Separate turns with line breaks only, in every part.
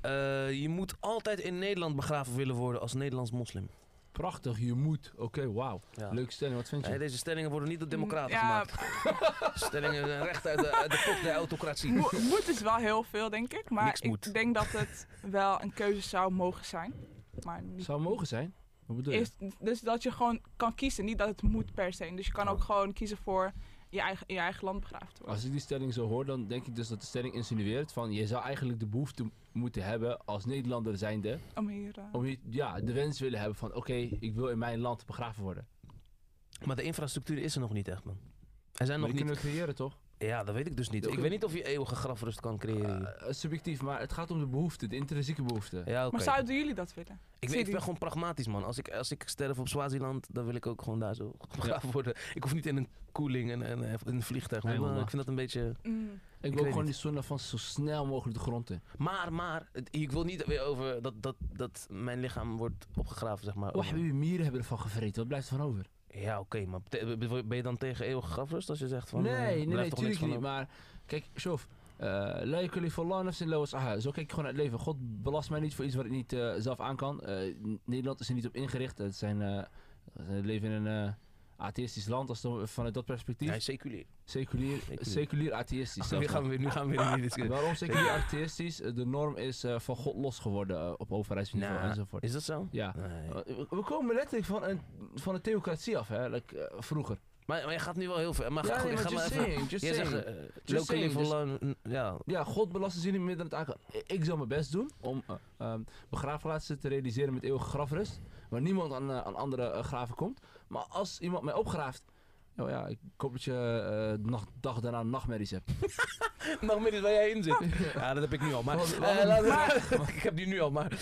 Eh, je moet altijd in Nederland begraven willen worden als Nederlands moslim.
Prachtig, je moet. Oké, wauw.
Ja.
Leuke stelling, wat vind je?
Nee, Eh, deze stellingen worden niet door democraten
Mm, Ja.
gemaakt. stellingen zijn recht uit de, uit de pot der autocratie.
Mo- moet is wel heel veel, denk ik. Maar
Niks
ik
moet.
denk dat het wel een keuze zou mogen zijn. Maar niet.
Zou mogen zijn? Wat bedoel je?
Is, dus dat je gewoon kan kiezen. Niet dat het moet per se. Dus je kan
Oh.
ook gewoon kiezen voor je eigen, in je eigen land begraafd te worden.
Als ik die stelling zo hoor, dan denk ik dus dat de stelling insinueert van... je zou eigenlijk de behoefte moeten hebben als Oh, Nederlander zijnde...
Om hier... eh,
om je, ja, de wens willen hebben van... oké, ik wil in mijn land begraven worden.
Maar de infrastructuur is er nog niet echt, man. Er zijn
Maar
nog
die
niet...
kunnen we creëren, toch?
Ja, dat weet ik dus niet. Ik weet niet of je eeuwige grafrust kan creëren. hier.
Eh, subjectief, maar het gaat om de behoefte, de intrinsieke behoefte.
ja, oké.
Maar zouden jullie dat willen?
Ik, weet, ik ben gewoon pragmatisch, man. Als ik, als ik sterf op Swaziland, dan wil ik ook gewoon daar zo begraven worden. Ik hoef niet in een koeling en, en eh, in een vliegtuig.
Nee,
Maar
man.
ik vind dat een beetje...
Mm.
Ik
weet
wil gewoon
niet. Oh,
die zonne van zo snel mogelijk de grond in.
Maar, maar, het- ik wil niet weer over dat, dat, dat mijn lichaam wordt opgegraven, zeg maar.
Oh, hebben mieren hebben ervan gevreten? Wat blijft er van over?
Ja, oké, maar bete- be- ben je dan tegen eeuwige grafrust als je zegt van... eh,
nee, nee,
blijft
nee,
toch niks
natuurlijk
van
niet. Maar kijk, Shof. La yakuli voor Allah nafsin illa wus'aha. Zo kijk ik gewoon naar het leven. God belast mij niet voor iets waar ik niet eh, zelf aan kan. Eh, N- Nederland is er niet op ingericht. Het zijn, eh, we leven in een eh, atheïstisch land als dan, vanuit dat
over?
perspectief.
Hij is seculier.
Seculier,
Seculier.
seculier atheïstisch.
nu,
zelfs
gaan we, weer- nu gaan we weer in die discussie.
Waarom seculier atheïstisch? Eh, De norm is eh, van God los geworden eh, op overheidsniveau
Nou,
enzovoort.
Is dat zo?
Ja.
Nee.
Eh, we- We komen letterlijk van een, van een theocratie af, hè? Like, eh, vroeger.
Maar, maar je gaat nu wel heel ver. Maar
ja,
goed,
nee,
ik
maar
ga maar
just
even...
saying, just
Jij
saying.
zegt,
Just
local
saying,
level,
dus-
eh, n- ja.
Ja, God belast ze niet meer dan het aankomen. Ik zal mijn best doen om eh, ehm, begraafplaatsen te realiseren met eeuwige grafrust. Waar niemand aan, eh, aan andere eh, graven komt. Maar als iemand mij opgraaft. Nou ja, ik hoop dat je eh, de nacht, dag daarna nachtmerries hebt.
Nog midden waar jij in zit. Ja, dat heb ik nu al. Maar,
Wat-
eh,
Oh, waarom-
laten we- ik heb die nu al, maar...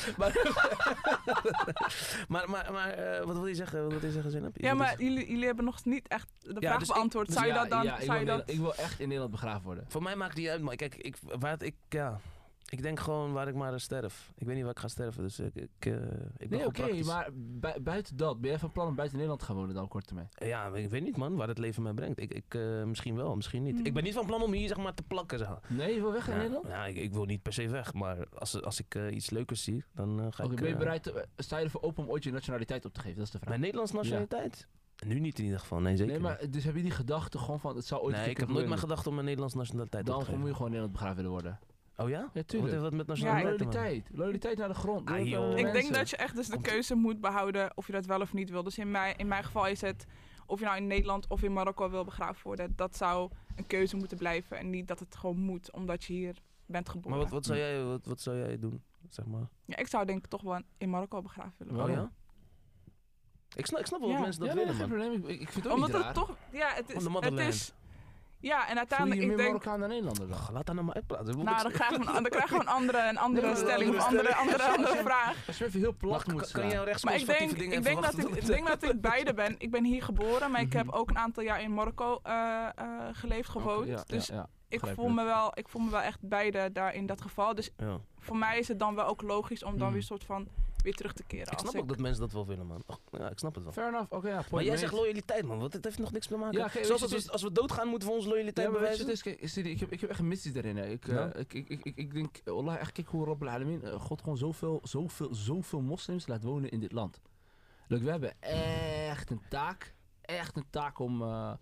Maar, maar, maar, maar, eh, wat wil je zeggen? Wat wil je zeggen, Zeynep?
Ja, maar jullie, jullie hebben nog niet echt de vraag
dus ik-
beantwoord. Zou je
Ja,
dat dan...
Ja, ik,
zou je
wil,
dat...
ik wil echt in Nederland begraafd worden.
Voor mij maakt het niet uit, maar kijk, ik, waar het- ik, ja, ik denk gewoon waar ik maar sterf. Ik weet niet waar ik ga sterven, dus ik, ik, eh, ik ben
Nee,
gewoon
oké,
praktisch.
maar bui- buiten dat, ben jij van plan om buiten Nederland te gaan wonen dan op korte termijn?
Ja, ik weet niet man, waar het leven mij brengt. Ik, ik, eh, misschien wel, misschien niet. Ik ben niet van plan om hier zeg maar te plakken. Zeg. maar.
Nee, je wil Hmm. weg in
Ja,
Nederland?
ja, ik, ik wil niet per se weg, maar als, als ik eh, iets leukers zie, dan eh, ga
Oké,
ik...
ben je
eh,
bereid, te- eh, sta je ervoor open om ooit je nationaliteit op te geven? Dat is de vraag.
Mijn Nederlands nationaliteit? Nu niet in ieder geval, nee zeker
nee,
niet.
maar dus heb je die gedachte gewoon van, het zou ooit... een
Nee,
keer
ik heb
kunnen
nooit mijn gedacht om mijn Nederlands nationaliteit op te
Dan moet
geven.
je gewoon in Nederland begraafd willen worden.
Oh ja?
Ja,
Wat
tuurlijk.
heeft dat met
Ja,
nationaliteit te maken?
Loyaliteit. Loyaliteit naar de grond.
Ah,
Loyaliteit
joh.
naar de
Ik denk
mensen.
dat je echt dus de
Komt-
keuze moet behouden of je dat wel of niet wil. Dus in mijn, in mijn geval is het of je nou in Nederland of in Marokko wil begraafd worden. Dat zou een keuze moeten blijven. En niet dat het gewoon moet omdat je hier bent
Maar
geboren.
wat, wat, zou jij, wat, wat zou jij doen, zeg maar?
Ja, ik zou denk ik toch wel in Marokko begraafd willen
Oh
Waarom?
ja? Ik snap, ik snap wel
Ja.
dat mensen dat
ja, nee,
willen,
geen
man.
probleem. Ik, ik vind het ook
worden. Omdat
niet raar.
het toch... Ja,
Van
het is...
de
Het
motherland.
is ja, en
Voel je
uiteindelijk
je meer
ik denk...
Marokkaan dan Nederlander dan?
Ach, laat haar nou maar uitpraten. Ik bedoel,
Nou,
ik-
dan krijgen we een, dan krijgen we een andere, een andere
Nee, maar-
stelling of een andere, andere, andere vraag.
Als je even heel
Maar
plat
kan-
moet
kan
slaan.
jij een
Maar ik denk,
rechtsconservatieve dingen
ik, denk dat ik,
verwachten? Mhm.
ik denk dat ik beide ben. Ik ben hier geboren, maar ik heb ook een aantal jaar in Marokko eh, eh, geleefd, gewoond.
Ja, ja,
dus
ja.
ik, voel
begrijpelijk.
me wel, ik voel me wel echt beide daar in dat geval. Dus
Ja.
voor mij is het dan wel ook logisch om dan
Hmm.
weer soort van weer terug te keren.
Mhm. Ik snap
als
ook dat mensen dat wel willen, man. Ach, ja, ik snap het wel.
Fair enough. Oké, ja.
Maar
point
jij
made.
zegt loyaliteit, man. Want het heeft nog niks te maken.
Ja, kijk,
Zoals
weet
als
je,
we, als we doodgaan, moeten we onze
Ja,
loyaliteit
maar weet je,
bewijzen.
wat het is, kijk, Sidi, ik, heb, ik heb echt een missie daarin. Hè. Ik, eh,
Ja.
ik, ik, ik, ik, ik denk, Allah, echt kijk hoe Rabbel Alamin, eh, God gewoon zoveel, zoveel, zoveel moslims laat wonen in dit land. Leuk, we hebben echt een taak, echt een taak om, eh,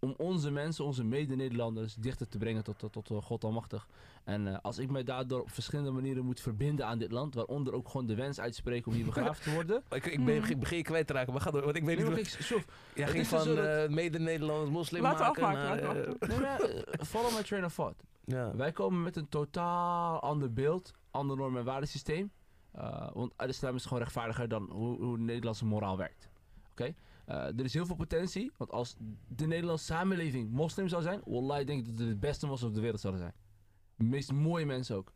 om onze mensen, onze mede-Nederlanders dichter te brengen tot, tot, tot eh, God Almachtig. En eh, als ik mij daardoor op verschillende manieren moet verbinden aan dit land, waaronder ook gewoon de wens uitspreken om hier begraafd te worden.
Ik, ik ben, ik begin je kwijt te raken, maar ga door. Want ik weet
Nee,
niet
maar
wat...
kijk, Sjoef,
Jij
het
ging
is dus
van
zo dat-
eh, mede-Nederlands moslim
Laten we
maken
afmaken,
naar...
laten we
eh,
nee, maar, eh, follow my train of thought.
ja.
Wij komen met een totaal ander beeld, ander norm- en waardesysteem. Eh, want de islam is gewoon rechtvaardiger dan hoe, hoe de Nederlandse moraal werkt. Oké? Eh, er is heel veel potentie, want als de Nederlandse samenleving moslim zou zijn, wallah, ik denk dat we de beste moslims op de wereld zouden zijn. De meest mooie mensen ook.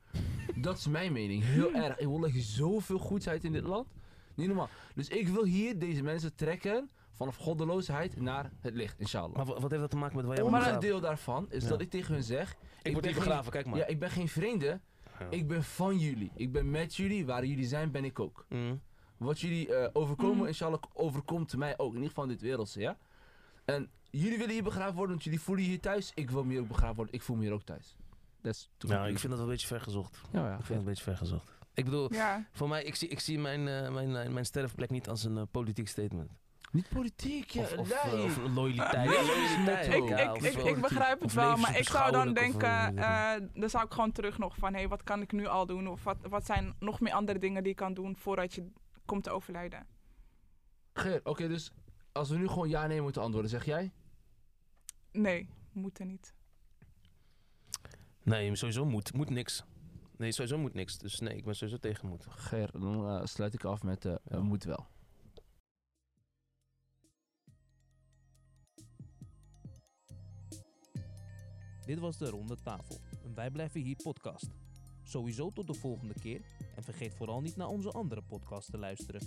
dat is mijn mening, heel erg. Ik wil zoveel goedheid in dit land. Niet normaal. Dus ik wil hier deze mensen trekken vanaf goddeloosheid naar het licht, inshallah.
Maar wa- wat heeft dat te maken met waar jij
Maar
begraven?
een deel daarvan is
Ja.
dat ik tegen hun zeg...
Ik word
ben
hier
geen-
begraven, kijk maar.
ja, ik ben geen vreemde.
Ja.
Ik ben van jullie. Ik ben met jullie. Waar jullie zijn, ben ik ook.
Mm.
Wat jullie eh, overkomen,
Mhm.
inshallah, overkomt mij ook. In ieder geval in dit wereldse, ja? En jullie willen hier begraafd worden, want jullie voelen je hier thuis. Ik wil me hier ook begraafd worden. Ik voel me hier ook thuis. That's too
Nou, ik
complete.
vind dat wel een beetje vergezocht. Ik
ja, ja.
vind het een beetje vergezocht. Ik bedoel,
Ja.
voor mij, ik zie, ik zie mijn, eh, mijn, mijn, mijn sterfplek niet als een eh, politiek statement.
Niet politiek, ja.
Of, of,
nee.
eh, of loyaliteit.
Nee,
Loyaliteit,
ik-
Ik,
eh, ja,
ik,
of
ik,
zo.
ik begrijp het
Of
wel, maar ik zou dan denken,
levensbeschouwelijk of, eh,
eh, dan zou ik gewoon terug nog van, hé, hey, wat kan ik nu al doen? Of wat, wat zijn nog meer andere dingen die ik kan doen voordat je komt te overlijden?
Ger, oké, dus als we nu gewoon ja-nee moeten antwoorden, zeg jij?
Nee, moeten niet.
Nee, sowieso moet. Moet niks. Nee, sowieso moet niks. Dus nee, ik ben sowieso tegen moet.
Ger, dan eh, sluit ik af met eh,
Ja.
moet wel.
Dit was de Ronde Tafel, een Wij Blijven Hier podcast. Sowieso tot de volgende keer en vergeet vooral niet naar onze andere podcast te luisteren.